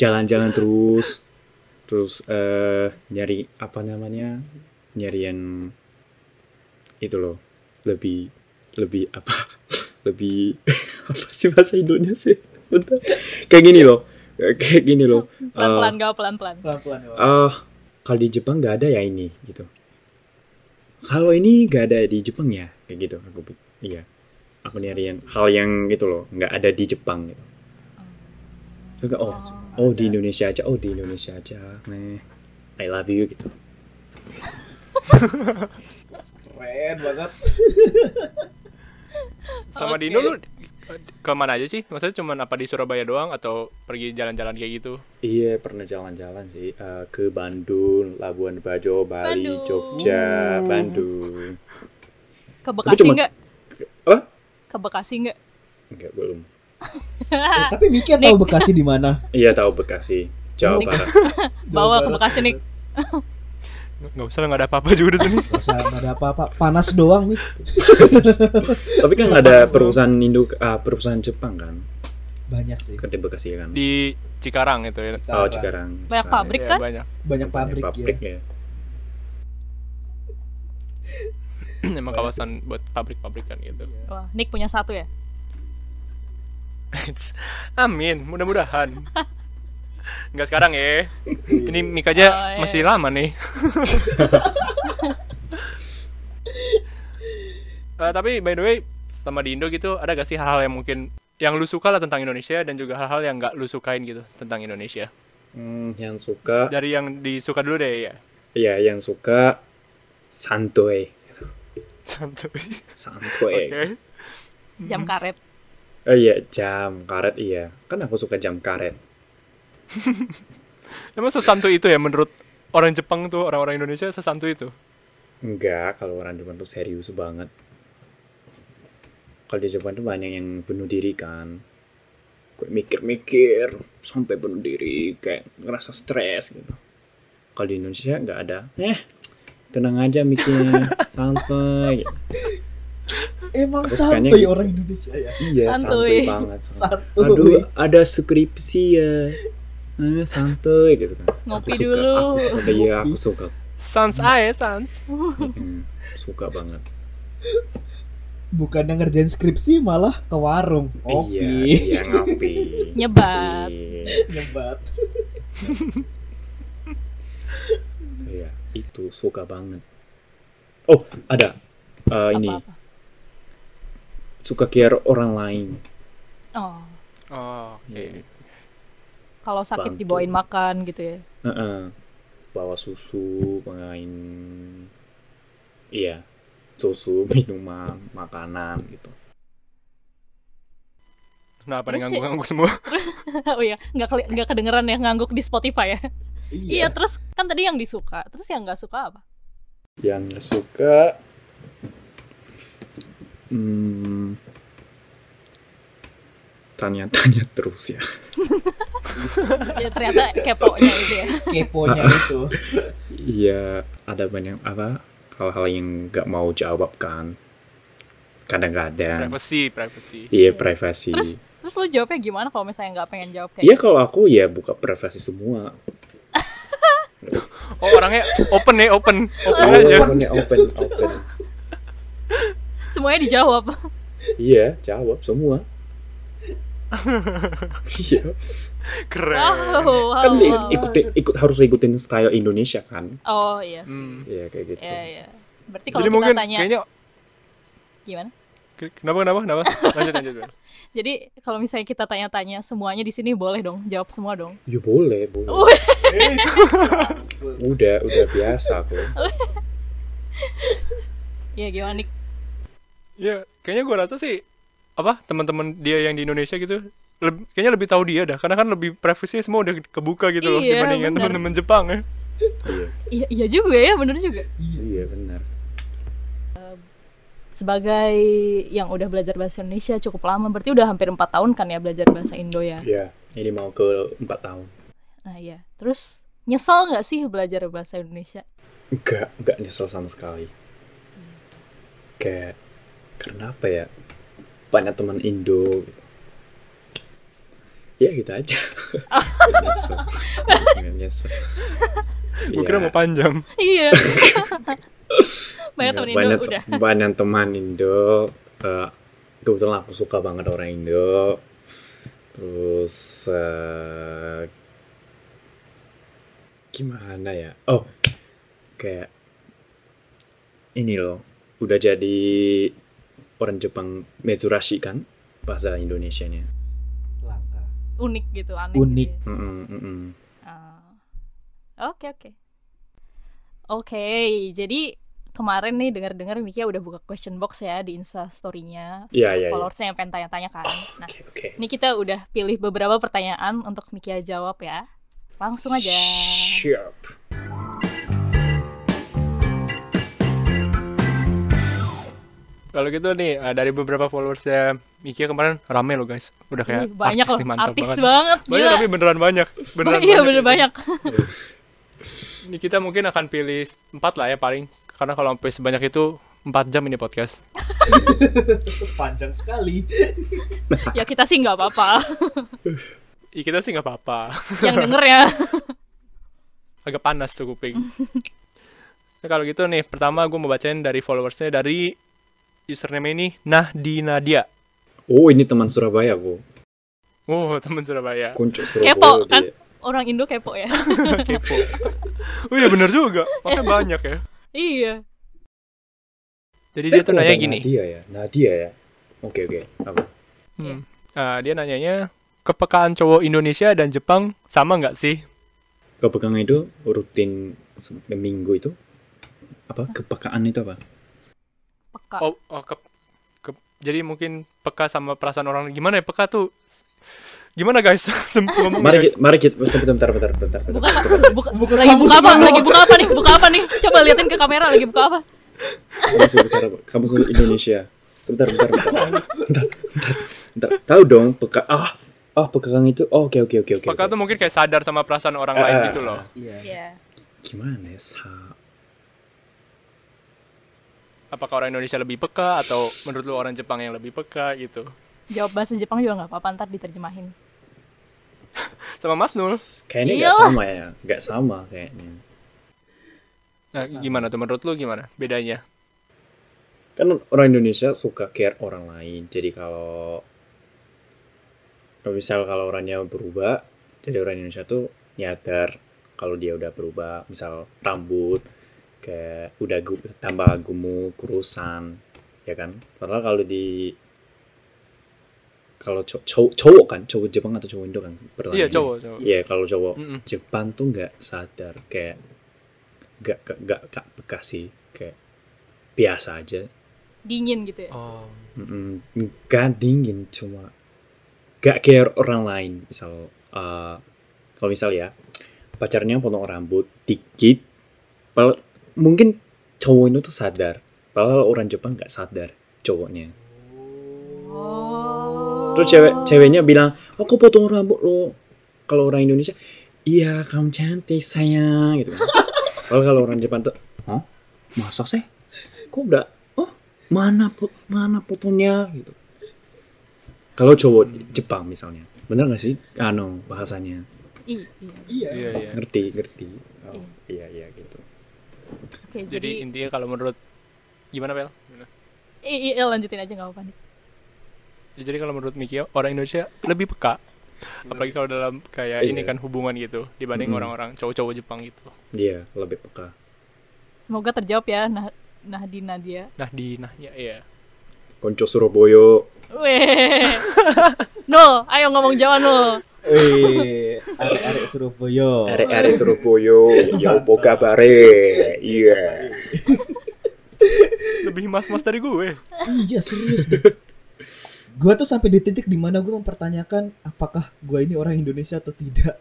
Jalan-jalan terus. Terus eh nyari apa namanya? Nyari yang itu loh. Lebih lebih apa? Lebih apa sih bahasa Indonesia sih? Bentar. Kayak gini loh. Kayak gini loh. Pelan-pelan gak pelan-pelan. Pelan-pelan. ya. eh kalau di Jepang nggak ada ya ini gitu. Kalau ini nggak ada di Jepang ya kayak gitu aku pik- iya aku nyari yang hal yang gitu loh nggak ada di Jepang gitu. Terus kayak, oh oh di Indonesia aja oh di Indonesia aja nih I love you gitu. Keren banget. Sama di Oke. Indo lu kemana aja sih? Maksudnya cuman apa di Surabaya doang atau pergi jalan-jalan kayak gitu? Iya pernah jalan-jalan sih eh, ke Bandung, Labuan Bajo, Bali, Bandung. Jogja, Bandung. Ke Bekasi cuma- nggak? Apa? Ke Bekasi nggak? Enggak belum. Eh, tapi Mikia tahu Bekasi di mana? Iya tahu Bekasi, Jawa Nik. Barat. Bawa ke Bekasi nih. Nggak usah lah, nggak ada apa-apa juga di sini. Gak usah, nggak ada apa-apa. Panas doang, Mik. Tapi kan ada perusahaan Indo, ah, perusahaan Jepang kan, Banyak sih. kan di Bekasi kan. Di Cikarang itu ya. Oh, Cikarang. Banyak Cikarang. pabrik Iya, kan? banyak. Banyak pabrik, ya. ya. Emang kawasan buat pabrik-pabrikan gitu. Wah, Nick punya satu ya? Amin, mudah-mudahan. Nggak sekarang ya. Ini mic aja Iya. Oh, iya. masih lama nih. Eh, tapi by the way, sama di Indo gitu, ada gak sih hal-hal yang mungkin yang lu suka lah tentang Indonesia dan juga hal-hal yang nggak lu sukain gitu tentang Indonesia. Hmm, yang suka, Dari yang disuka dulu deh ya. ya yang suka santuy, Santuy. santuy. Oke. Jam karet. Oh iya jam karet iya, kan aku suka jam karet. Emang sesantuy itu ya menurut orang Jepang tuh, orang-orang Indonesia sesantuy itu. Enggak, kalau orang Jepang tuh serius banget. Kalau di Jepang tuh banyak yang bunuh diri kan. Gue mikir-mikir sampai bunuh diri kayak ngerasa stres gitu. Kalau di Indonesia nggak ada. Eh, tenang aja mikirnya, santai. Emang Terus santuy kayaknya- orang Indonesia ya. Iya, santuy, Santuy. banget. santai. Santuy. Aduh, ada skripsi ya. Eh, santai gitu kan. Ngopi aku suka, dulu. Aku suka, iya, aku suka. Sans aja, sans. Mm, suka banget. Bukannya ngerjain skripsi malah ke warung. Iya, Oke. iya ngopi. Nyebat. Iya, Nyebat. Iya, itu suka banget. Oh, ada Eh, ini Apa-apa. suka care orang lain. Oh, Oh, oke. Iya. kalau sakit Bantu. dibawain makan gitu ya. Heeh. Bawa susu, pengain, iya, susu, minuman, makanan gitu. Kenapa Terus Nah, nih sih- ngangguk-ngangguk semua? oh iya, nggak keli- nggak kedengeran ya ngangguk di Spotify ya. Iya. Iya, terus kan tadi yang disuka, terus yang nggak suka apa? Yang nggak suka Hmm. Tanya-tanya terus ya. ya ternyata kepo-nya itu ya. keponya itu Iya, ada banyak apa hal-hal yang nggak mau jawab kan. Kadang-kadang. privacy privacy Iya, privasi. Terus terus lu jawabnya gimana kalau misalnya nggak pengen jawab Iya kayak gitu? kalau aku ya buka privasi semua. oh orangnya open ya open open Oh, iya. aja open, open, open. Semuanya dijawab. Iya, jawab semua. Iya, keren Wow, wow, kan di- wow. ikuti, ikut harus ikutin style Indonesia kan? Oh iya sih. Hmm. Iya kayak gitu. Iya, iya. Berarti kalau jadi kita mungkin tanya kayaknya gimana? ke- kenapa kenapa kenapa lanjut lanjut Bel. Jadi kalau misalnya kita tanya-tanya semuanya di sini boleh dong, jawab semua dong. Ya boleh, boleh. Oh, Wih. iya. udah, udah biasa kok. Iya gimana Nick? Iya, kayaknya gua rasa sih apa teman-teman dia yang di Indonesia gitu leb- kayaknya lebih tahu dia dah karena kan lebih privacy semua udah kebuka gitu loh Iya, dibandingin benar. teman-teman Jepang ya. Iya, Iya, iya juga ya, bener juga. iya benar. Sebagai yang udah belajar bahasa Indonesia cukup lama, berarti udah hampir empat tahun kan ya belajar bahasa Indo ya. Iya, ini mau ke empat tahun. Nah iya. Terus nyesel nggak sih belajar bahasa Indonesia? Enggak, enggak nyesel sama sekali. Kayak karena apa ya? Banyak teman Indo gitu. Ya gitu aja. Nggak nyesel. Nggak nyesel. Gua kira Iya, mau panjang. Iya. Banyak enggak, temen Indo banyak, udah. banyak teman Indo. eh, kebetulan aku suka banget orang Indo. Terus eh, gimana ya? Oh, kayak ini loh, udah jadi orang Jepang Mezurashi kan bahasa Indonesianya. langka Unik gitu, aneh. Unik. gitu ya. Mm-mm, mm-mm. Ah. Oke, oke. Oke, jadi kemarin nih dengar-dengar Miki udah buka question box ya di Insta story-nya. Iya, iya, iya. Followersnya yang pengen tanya-tanya kan. Nah, Oke, oke. Ini kita udah pilih beberapa pertanyaan untuk Mikia jawab ya. Langsung aja. Siap. Kalau gitu nih eh, dari beberapa followersnya Mikia kemarin rame loh guys. Udah kayak Ih, banyak artis loh, nih, mantap artis banget. banget. Banyak gila. tapi beneran banyak. Beneran iya, bener banyak. Ini kita mungkin akan pilih empat lah ya paling karena kalau sampai sebanyak itu empat jam ini podcast. panjang sekali ya kita sih nggak apa-apa. Ih, kita sih nggak apa-apa. Yang denger ya. agak panas tuh kuping. nah, kalau gitu nih, pertama gue mau bacain dari followersnya dari username ini Nahdi Nadia. Oh, ini teman Surabaya aku. Oh, teman Surabaya. Kunci Surabaya. Kepo, dia. kan? Orang Indo kepo ya. Kepo. Oh iya bener juga, makanya banyak ya. iya. Jadi dia Eh, kok tuh nanya ada gini. Nadia ya, Nadia ya. Oke oke. Apa? Hmm. Iya. Ah, dia nanyanya, kepekaan cowok Indonesia dan Jepang sama nggak sih? Kepekaan itu rutin se- minggu itu apa? Kepekaan itu apa? Peka. Ah. Oh, oh, ke- ke- jadi mungkin peka sama perasaan orang. Gimana ya peka tuh? Gimana guys? Sem- ngomong Mari guys. kita, mari kita, sebentar, bentar, bentar, bentar, bentar. Buka, buka, Buka lagi kamu buka apa? semua. Lagi buka apa nih? Buka apa nih? Coba liatin ke kamera lagi buka apa? Kamu sebesar apa? Kamu sebesar Indonesia. Sebentar, bentar, bentar, bentar, bentar, bentar. Tahu dong, peka. Ah, ah, pekaan itu. Oh, Oke, oke, oke, oke. Peka oke. tuh mungkin kayak sadar sama perasaan orang lain Ah. gitu loh. iya Iya. Gimana ya? Sa- Apakah orang Indonesia lebih peka atau menurut lu orang Jepang yang lebih peka gitu? Jawab bahasa Jepang juga nggak apa-apa, ntar diterjemahin. sama Mas Nul. Kayaknya nggak Iyalah. sama ya, nggak sama kayaknya. Nah, gimana tuh menurut lu gimana bedanya? kan orang Indonesia suka care orang lain jadi kalau kalau misal kalau orangnya berubah jadi orang Indonesia tuh nyadar kalau dia udah berubah misal rambut kayak udah gu- tambah gemuk kurusan ya kan padahal kalau di kalau cow- cow- cowok kan cowok Jepang atau cowok Indo kan berlainan. Iya, cowok, cowok. Iya kalau cowok Mm-mm. Jepang tuh nggak sadar kayak nggak nggak- nggak nggak peka sih kayak biasa aja. Dingin gitu ya. Oh. Mm-mm. Nggak dingin cuma nggak care orang lain misal eh, kalau misal ya pacarnya potong rambut dikit, pal- mungkin cowok itu tuh sadar. Padahal orang Jepang nggak sadar cowoknya. Oh. Terus cewek ceweknya bilang, "Oh, aku potong rambut lo. Kalau orang Indonesia, iya kamu cantik sayang gitu. Kalau kalau orang Jepang tuh, hah? Masa sih? Kok udah? Oh, mana pot mana potongnya gitu. Kalau cowok Jepang misalnya, bener nggak sih? Anu bahasanya I, Iya. iya. Iya, iya. ngerti ngerti. Oh, iya iya gitu. Oke, Jadi jadi, intinya kalau menurut gimana Pel? Gimana? I- iya, lanjutin aja nggak apa-apa nih. Ya, Jadi kalau menurut Miki orang Indonesia lebih peka. Apalagi kalau dalam kayak Iya. ini kan hubungan gitu dibanding Mm-mm. orang-orang cowok-cowok Jepang gitu. Dia Iya, lebih peka. Semoga terjawab ya nah Nahdina dia. Nah, di nahnya iya. Konco Surabaya. Weh. Nul, ayo ngomong Jawa Nul. Eh, arek-arek Oh. Surabaya. Arek-arek Surabaya, ya apa kabare? Iya. Lebih mas-mas dari gue. Iya serius deh. Gua tuh sampai di titik dimana gue mempertanyakan apakah gua ini orang Indonesia atau tidak.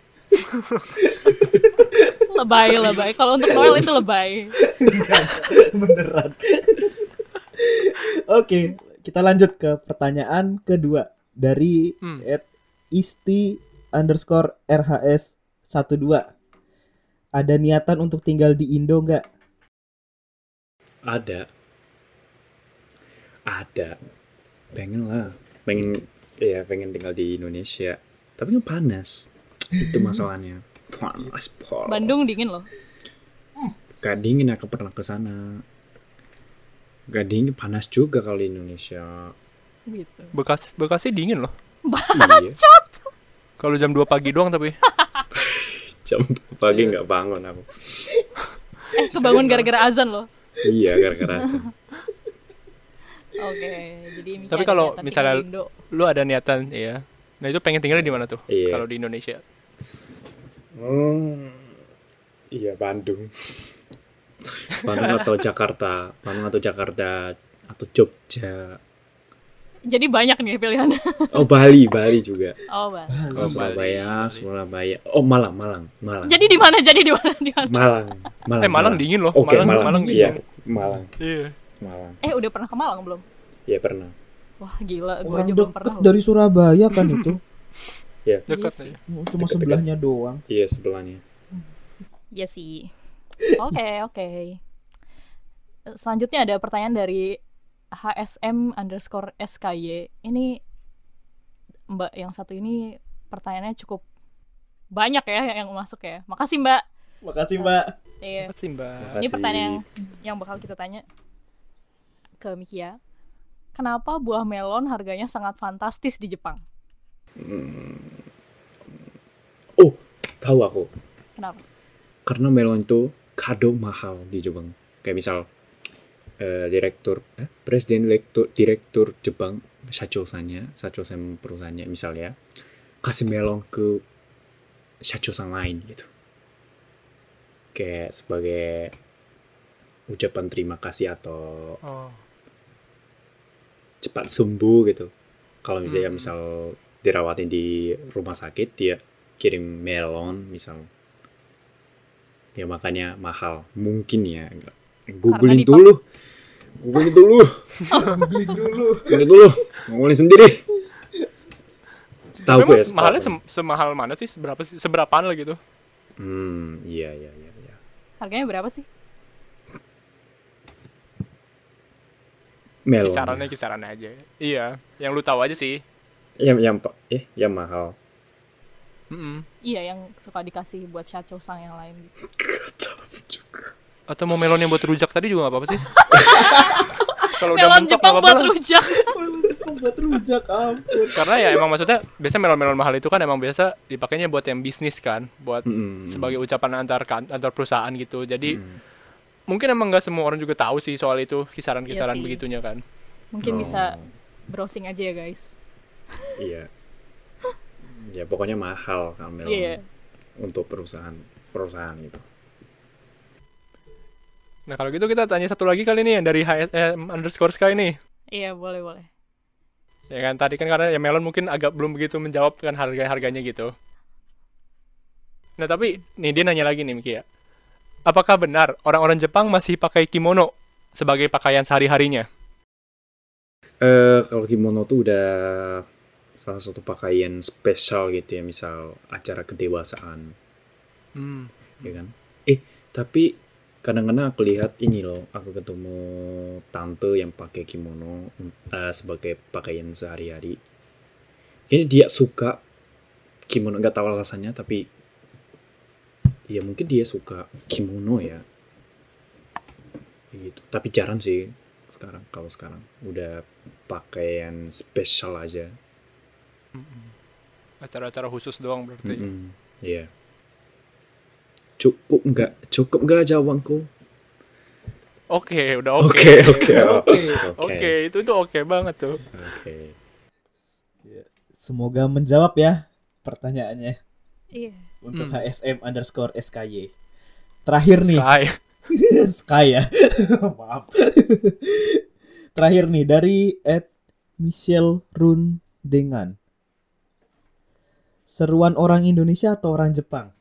Lebay, lebay. Kalau untuk Noel itu lebay. Beneran. Oke, kita lanjut ke pertanyaan kedua dari Hmm. at isti underscore rhs 12 ada niatan untuk tinggal di Indo nggak? Ada. Ada. Pengen lah. Pengen ya pengen tinggal di Indonesia. Tapi kan panas. Itu masalahnya. Panas, panas. Bandung dingin loh. Gak dingin aku pernah ke sana. Gak dingin panas juga kali Indonesia. Gitu. Bekas Bekasi dingin loh. iya. Kalau jam 2 pagi doang tapi. Jam pagi nggak bangun aku. Eh, kebangun gara-gara azan loh. Iya, gara-gara aja. Oke, jadi Miki Tapi ada kalau niatan misalnya- tinggal di Indo. Lu ada niatan ya. Nah, itu pengen tinggalnya di mana tuh? Iya. Kalau di Indonesia. Hmm, iya Bandung. Bandung atau Jakarta, Bandung atau Jakarta atau Jogja. Jadi banyak nih pilihan. Oh Bali, Bali juga. Oh, Bang. Kalau Bali, Surabaya, Bali. Surabaya. Oh Malang, Malang, Malang. Jadi di mana? Jadi di mana? Di mana? Malang, Malang. Eh, Malang dingin loh. Oke, Malang. Malang, Malang Iya, dingin. Malang, Iya. Malang. Eh, udah pernah ke Malang belum? Iya pernah. Wah, gila. Gue Orang aja belum pernah. deket loh. dari Surabaya kan itu, Dekat sih. aja. cuma Deket-deket. sebelahnya doang. Iya sebelahnya. Iya sih. Oke, oke. Eh, Selanjutnya ada pertanyaan dari HSM underscore SKY. Ini Mbak yang satu ini pertanyaannya cukup banyak ya yang masuk ya. Makasih Mbak. Makasih Mbak. Iya. Makasih, Mbak. Ini Makasih. pertanyaan yang bakal kita tanya ke Mikia. Kenapa buah melon harganya sangat fantastis di Jepang? Hmm. Oh, tahu aku. Kenapa? karena melon itu kado mahal di Jepang. Kayak misal eh, direktur, eh, presiden direktur, direktur Jepang Shacho-sannya, Shacho-san perusahaannya misalnya kasih melon ke Shacho-san lain gitu. Kayak sebagai ucapan terima kasih atau Oh. cepat sembuh gitu. Kalau misalnya Hmm. misal dirawatin di rumah sakit dia kirim melon misal. Ya makanya mahal. Mungkin ya. Googling dipak- dulu. Googling dulu. Googling dulu. Googling dulu. Googling sendiri. Tahu Memang ya. setahu mahalnya aku. sem- semahal mana sih? Seberapa sih? Seberapaan lah gitu? Hmm, iya iya iya iya. Harganya berapa sih? Melon. Kisarannya kisarannya aja. Iya, yang lu tahu aja sih. Yang yang pa- eh yang mahal. Mm-mm. Iya, yang suka dikasih buat shacho sang yang lain. Atau mau melon yang buat rujak tadi juga nggak apa-apa sih. Kalau udah melon mentok, nggak Jepang apa-apa buat lah. rujak. Buat rujak ampun. Karena ya emang maksudnya biasa melon-melon mahal itu kan emang biasa dipakainya buat yang bisnis kan, buat Mm-mm. sebagai ucapan antar kan- antar perusahaan gitu. Jadi Mm. mungkin emang nggak semua orang juga tahu sih soal itu kisaran-kisaran Iya sih. begitunya kan. Mungkin Oh, bisa browsing aja ya, guys. Iya. Ya pokoknya mahal kan melon. Iya. untuk perusahaan perusahaan gitu. itu. Nah kalau gitu kita tanya satu lagi kali nih yang dari HSM underscore sky nih. Iya, boleh, boleh. Ya kan tadi kan karena ya melon mungkin agak belum begitu menjawab kan harga-harganya gitu. Nah tapi nih dia nanya lagi nih Miki ya. Apakah benar orang-orang Jepang masih pakai kimono sebagai pakaian sehari-harinya? Eh, kalau kimono tuh udah salah satu pakaian spesial gitu ya, misal acara kedewasaan, Hmm. ya kan? Eh, tapi kadang-kadang aku lihat ini loh, aku ketemu tante yang pakai kimono eh, sebagai pakaian sehari-hari. Jadi dia suka kimono, nggak tahu alasannya, tapi ya mungkin dia suka kimono ya. Gitu. Tapi jarang sih sekarang kalau sekarang udah pakaian spesial aja. Acara-acara khusus doang berarti. Mm-mm. Iya. Cukup nggak? Cukup nggak jawabanku? Oke, udah oke. Oke, oke, oke, Oke, itu tuh oke banget tuh. oke. Semoga menjawab ya pertanyaannya Iya. untuk Hmm. HSM underscore SKY. Terakhir nih, Sky. Sky ya. Maaf. Terakhir nih dari at Michelle Run dengan seruan orang Indonesia atau orang Jepang?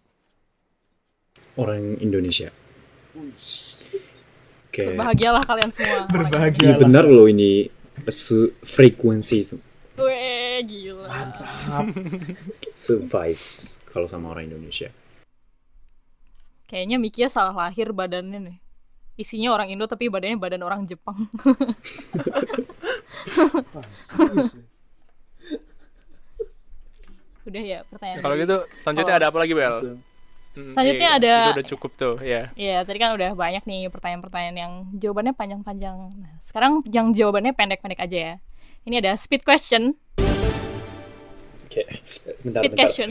Orang Indonesia. Oke. Berbahagialah kalian semua. Ini benar loh ini sefrekuensi, Gue gila. Mantap. se-vibes kalau sama orang Indonesia. Kayaknya Mikia salah lahir badannya nih. Isinya orang Indo tapi badannya badan orang Jepang. Udah ya pertanyaan. Kalau tadi. gitu selanjutnya ada apa lagi, Bel? Hmm, Selanjutnya iya, ada- Itu udah cukup tuh, ya. Iya, tadi kan udah banyak nih pertanyaan-pertanyaan yang jawabannya panjang-panjang. Nah, sekarang yang jawabannya pendek-pendek aja ya. Ini ada speed question. Oke. Bentar, Speed bentar. question.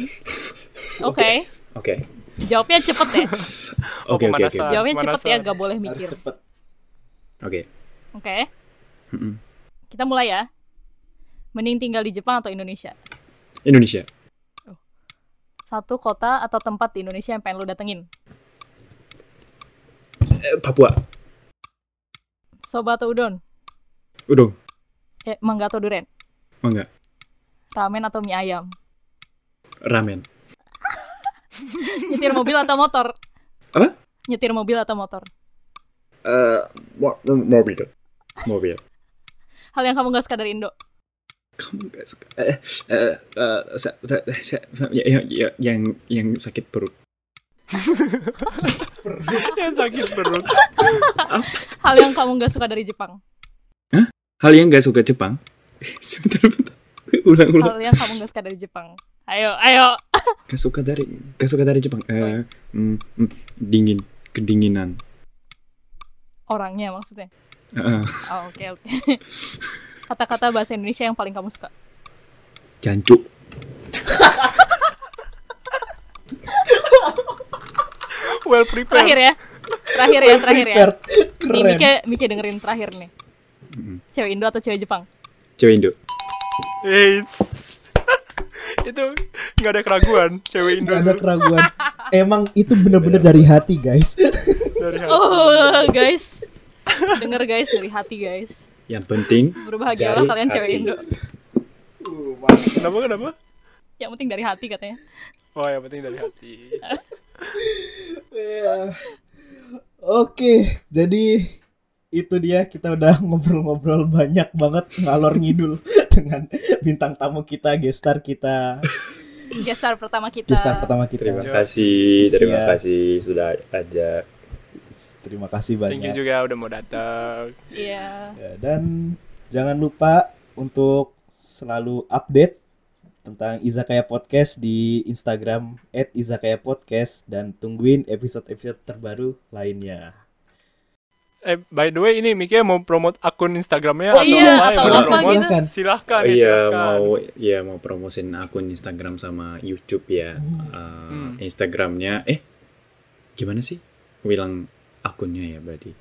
Oke. Oke. Oke. Jawabnya cepet ya. Oh, Oke, oke, oke. pemanasan. Jawabnya Mana cepet ya, sa- gak boleh Harus mikir. cepet. Oke. Oke. Mm-mm. Kita mulai ya. Mending tinggal di Jepang atau Indonesia? Indonesia. Satu kota atau tempat di Indonesia yang pengen lo datengin? Eh, Papua. Soba atau udon? Udah. Eh, mangga atau durian? Oh enggak. Ramen atau mie ayam? Ramen. Nyetir mobil atau motor? Apa? Nyetir mobil atau motor? Eh, mo- mo- mobil. Mobil. Hal yang kamu gak suka dari Indo? kamu gak suka eh eh eh, sa- sa- sa- sa- ya- ya- ya- yang yang sakit perut Ya sakit perut. Hal yang kamu gak suka dari Jepang? hal yang gak suka Jepang sebentar bentar ulang ulang Hal yang kamu gak suka dari Jepang? Ayo, ayo! gak suka dari gak suka dari Jepang eh mm, mm, dingin kedinginan Orangnya maksudnya. Eh, eh, Oh, oke, oke. Kata-kata bahasa Indonesia yang paling kamu suka? jancuk Well prepared. Terakhir ya. Terakhir ya, terakhir ya. Prepared. Nih, Keren. Mike, Mike dengerin terakhir nih. Mm. Cewek Indo atau cewek Jepang? cewek Indo Eits. itu nggak ada keraguan cewek Indo Nggak ada keraguan. Emang itu bener-bener dari hati guys. dari hati. Oh, guys. Denger guys dari hati guys. yang penting Berbahagialah Dari kalian cewek hati. Indo. kenapa kenapa Yang penting dari hati katanya. oh yang penting dari hati Iya. Oke, jadi itu dia kita udah ngobrol-ngobrol banyak banget ngalor ngidul dengan bintang tamu kita, gestar kita, Gestar pertama kita. gestar pertama kita. terima Terima, kasih terima Iya. kasih sudah ada kasih thank you banyak. juga udah mau datang Iya. Ya, dan jangan lupa untuk selalu update tentang Izakaya Podcast di Instagram @izakayapodcast dan tungguin episode-episode terbaru lainnya. eh by the way ini Mika mau promote akun Instagramnya Oh iya, apa yang atau mau apa promote? gitu. silahkan Oh ya, iya silahkan. mau ya mau promosin akun Instagram sama YouTube ya. Eh, Hmm. Instagramnya eh gimana sih? Aku bilang akunnya ya berarti.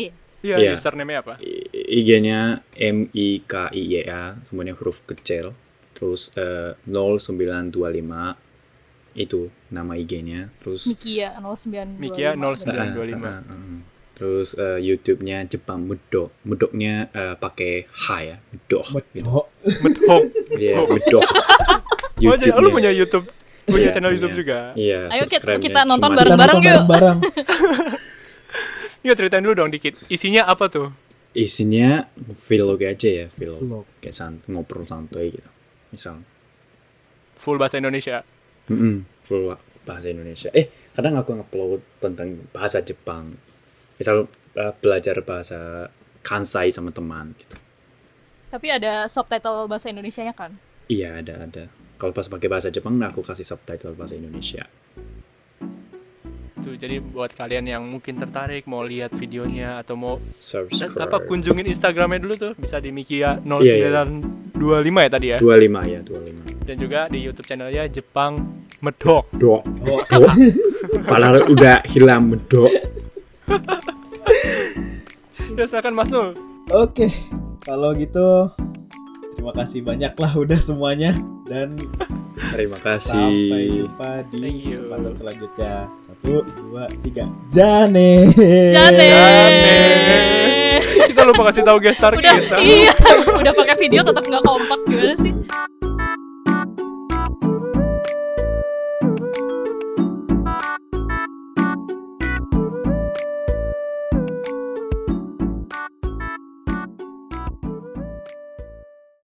iya Iya. username-nya apa I- IG-nya M I K I Y A semuanya huruf kecil. Terus eh, 0925 itu nama IG-nya. Terus Mikia 0925. Mikia eh, eh, 0925. eh, eh, eh. terus eh, YouTube-nya Jepang Medok. Medoknya eh, pakai H ya. Medok. gitu. Medok. Medhok Iya, Oh. Medok. oh jadi lu YouTube-nya. punya YouTube punya Iya, channel YouTube punya. juga Iya, Ayo, Kit, subscribe-nya kita nonton cuma- Kita Bareng-bareng nonton yuk. bareng-bareng. Iya ceritain dulu dong dikit. Isinya apa tuh? Isinya vlog aja ya, vlog. Vlog. Kayak sant- ngobrol santuy gitu. Misal. Full bahasa Indonesia. Mm-mm, full bahasa Indonesia. Eh, kadang aku upload tentang bahasa Jepang. Misal eh, belajar bahasa Kansai sama teman gitu. Tapi ada subtitle bahasa Indonesianya kan? Iya, ada ada. Kalau pas pakai bahasa Jepang, nah aku kasih subtitle bahasa Indonesia. Tuh, jadi buat kalian yang mungkin tertarik mau lihat videonya atau Oh. mau eh, Eh, Subscribe. apa kunjungin Instagramnya dulu tuh bisa di Mikia Iya, 0925 iya. ya tadi ya 25 ya, 25. dan juga di YouTube channelnya Jepang Medok. Dok. Oh. Dok. Padahal udah hilang medok. Ya silakan Mas Nul. Oke, kalau gitu terima kasih banyak lah udah semuanya dan Terima sampai kasih. jumpa Thank di you. kesempatan selanjutnya. Satu, dua, tiga, jane. Jane. Jane. Kita lupa kasih tahu guest star Udah kita. iya, udah pakai video tetap nggak kompak gimana sih?